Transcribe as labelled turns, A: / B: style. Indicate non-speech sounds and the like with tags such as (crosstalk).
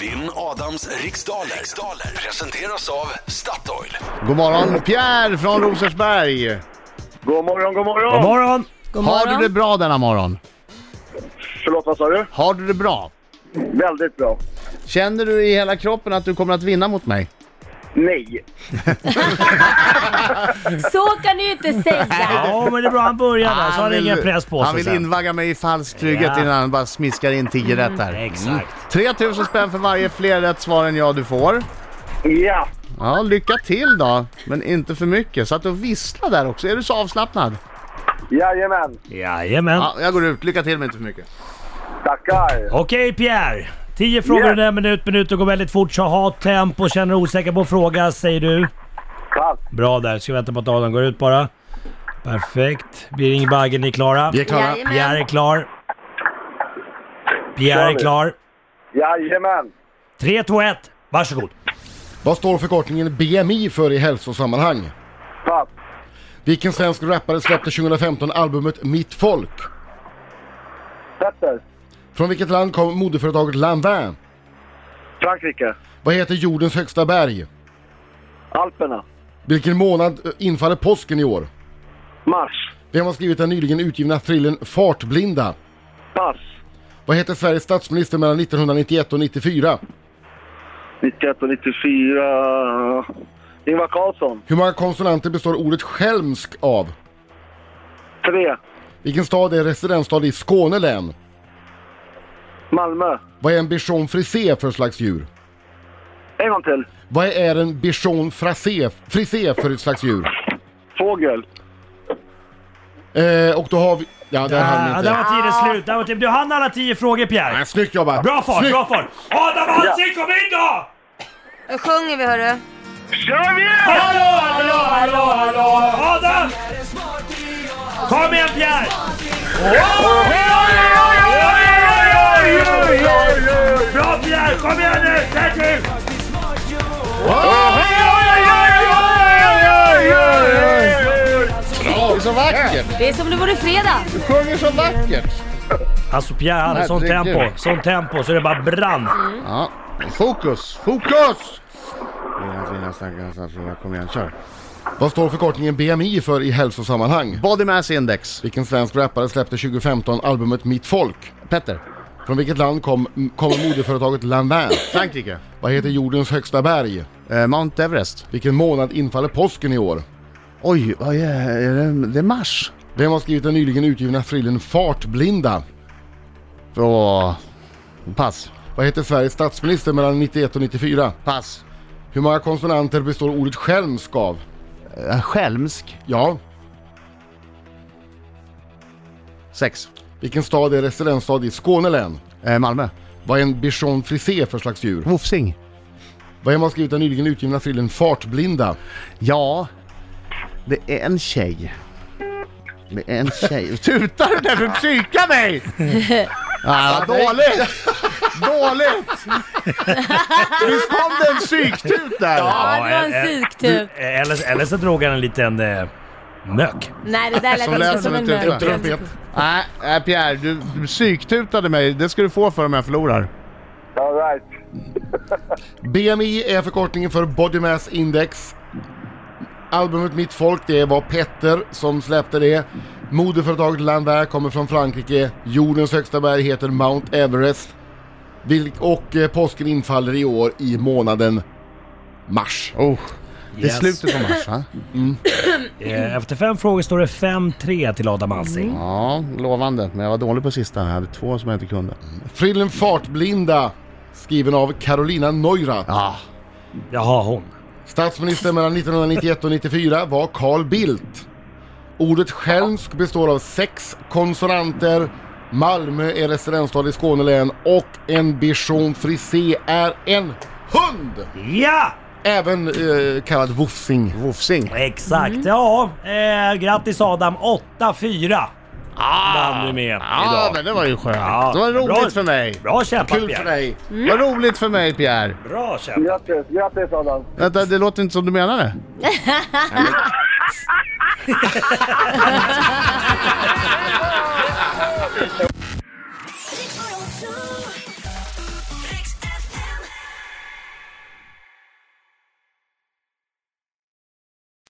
A: Vinn Adams riksdaler. riksdaler presenteras av Statoil.
B: God morgon Pierre från Rosersberg!
C: God morgon, god morgon!
D: God morgon!
E: God
B: Har du
E: morgon.
B: det bra denna morgon?
C: Förlåt, vad sa du?
B: Har du det bra?
C: Väldigt bra.
B: Känner du i hela kroppen att du kommer att vinna mot mig?
C: Nej.
E: Så kan du ju inte säga!
D: Ja, men det är bra han börjar där, så har han
B: vill-
D: ingen press på sig
B: Han vill
D: sen.
B: invagga mig i falsk trygghet
D: Ja. Mm,
B: innan han bara smiskar in 10 rätt här.
D: Exakt.
B: 3000 spänn för varje fler rätt svar än jag du får.
C: Ja.
B: Ja, lycka till då, men inte för mycket. Satt och vissla där också. Är du så avslappnad?
C: Jajamän.
D: Jajamän.
B: Ja, jag går ut. Lycka till men inte för mycket.
C: Tackar.
D: Okej Pierre! 10 frågor
C: Yeah.
D: under en minut, minuten går väldigt fort så ha tempo, känner dig osäker på en fråga säger du.
C: Pass.
D: Bra där, ska vänta på att Adam går ut bara. Perfekt. Birging Baggen, ni är klara?
B: Vi är klara.
E: Jajamän.
D: Pierre är klar. Pierre är klar.
C: Jajamän.
D: 3, 2, 1. Varsågod.
F: Vad står förkortningen BMI för i hälsosammanhang?
C: Pass.
F: Vilken svensk rappare släppte 2015 albumet Mitt Folk?
C: Petter.
F: Från vilket land kom modeföretaget Lanvin?
C: Frankrike.
F: Vad heter jordens högsta berg?
C: Alperna.
F: Vilken månad eh, infaller påsken i år?
C: Mars.
F: Vem har skrivit den nyligen utgivna thrillern Fartblinda?
C: Pass.
F: Vad heter Sveriges statsminister mellan 1991 och 94?
C: 91 och 94. Ingvar Carlsson.
F: Hur många konsonanter består ordet skälmsk av?
C: Tre.
F: Vilken stad är residensstad i Skåne län?
C: Malmö.
F: Vad är en bichon frisé för slags djur?
C: En gång till.
F: Vad är en bichon frasé, frisé för ett slags djur?
C: Fågel.
F: Eh, och då har vi... Ja, där hann vi
D: Ah, där
F: inte.
D: var tiden slut. Där var tiden. Du hann alla 10 frågor Pierre.
F: Nej, snyggt jobbat!
D: Bra fart,
F: snyggt.
D: bra fart! Adam Alsing kom in då!
E: Nu sjunger vi hörru!
C: Kör vi!
D: Hallå, hallå, hallå, hallå! Adam! Kom igen Pierre! Bra Pierre, kom igen nu! Säg till!
B: Det är så vackert!
E: Det är som om det vore fredag!
B: Du sjunger så vackert!
D: Alltså Pierre hade sån
B: Herregud.
D: tempo, sån tempo så det bara brann.
B: Ja, fokus, fokus! Fina, fina, stackars, stackars. alltså. Kom igen, kör.
F: Vad står förkortningen BMI för i hälsosammanhang?
B: Body mass index.
F: Vilken svensk rappare släppte 2015 albumet Mitt Folk?
B: Petter,
F: Från vilket land kom- kommer modeföretaget Lanvin?
B: Frankrike.
F: Vad heter jordens högsta berg?
B: Eh, Mount Everest.
F: Vilken månad infaller påsken i år?
B: Oj, vad är är det? Det är mars.
F: Vem har skrivit den nyligen utgivna thrillern Fartblinda?
B: Åh. Pass.
F: Vad heter Sveriges statsminister mellan 91 och 94?
B: Pass.
F: Hur många konsonanter består ordet skälmsk av?
B: Eh, Skälmsk.
F: Ja.
B: Sex.
F: Vilken stad är residensstad i Skåne län?
B: Eh, Malmö.
F: Vad är en bichon frisé för slags djur?
B: Vofsing.
F: Vem har skrivit den nyligen utgivna thrillern Fartblinda?
B: Ja, det är en tjej. Det är en tjej. Tutar du där för att psyka mig? Ah, vad dåligt!
F: (laughs)
B: Dåligt! Visst kom det en psyktut där?
E: Ja, det var en typ.
D: eh, eh,
E: psyktut.
D: du, eh, Eller, eller så drog han en liten eh, mök.
E: Nej det där lät
B: Som typ lät
E: inte
B: som
E: som en typ.
B: en tuta.
E: mörk.
F: Trumpet.
B: Nej, nej, Pierre, du du psyktutade mig. Det ska du få för om jag förlorar.
C: All right.
F: BMI är förkortningen för Body Mass Index. Albumet Mitt Folk, det var Petter som släppte det. Modeföretaget Landvär kommer från Frankrike. Jordens högsta berg heter Mount Everest. Vilk- Och eh, påsken infaller i år i månaden mars.
B: Oh, det är
D: Yes.
B: slutet på mars, va?
D: Eh, Efter fem frågor står det 5-3 till Adam Alsing.
E: Mm.
B: Ja, lovande. Men jag var dålig på sista. Jag hade två som jag inte kunde.
F: Frillen Fartblinda, skriven av Carolina Neurath.
B: Ah,
D: Jaha, hon.
F: Statsminister mellan 1991 och 94 var Carl Bildt. Ordet skälmsk består av sex konsonanter. Malmö är residensstad i Skåne län och en bichon frisé är en hund!
D: Ja!
F: Även eh, kallad vofsing.
B: Vofsing.
D: Exakt. Ja, eh, grattis Adam. 8-4 vann du med
B: Ja, Ah.
D: idag.
B: men det var ju skönt.
D: Ja,
B: Det var roligt
D: bra.
B: för mig.
D: Bra kämpat
B: Kul för
D: Pierre.
B: dig. Vad roligt för mig, Pierre.
D: Bra kämpat.
C: Grattis, grattis Adam.
B: Vänta, det låter inte som du menar det.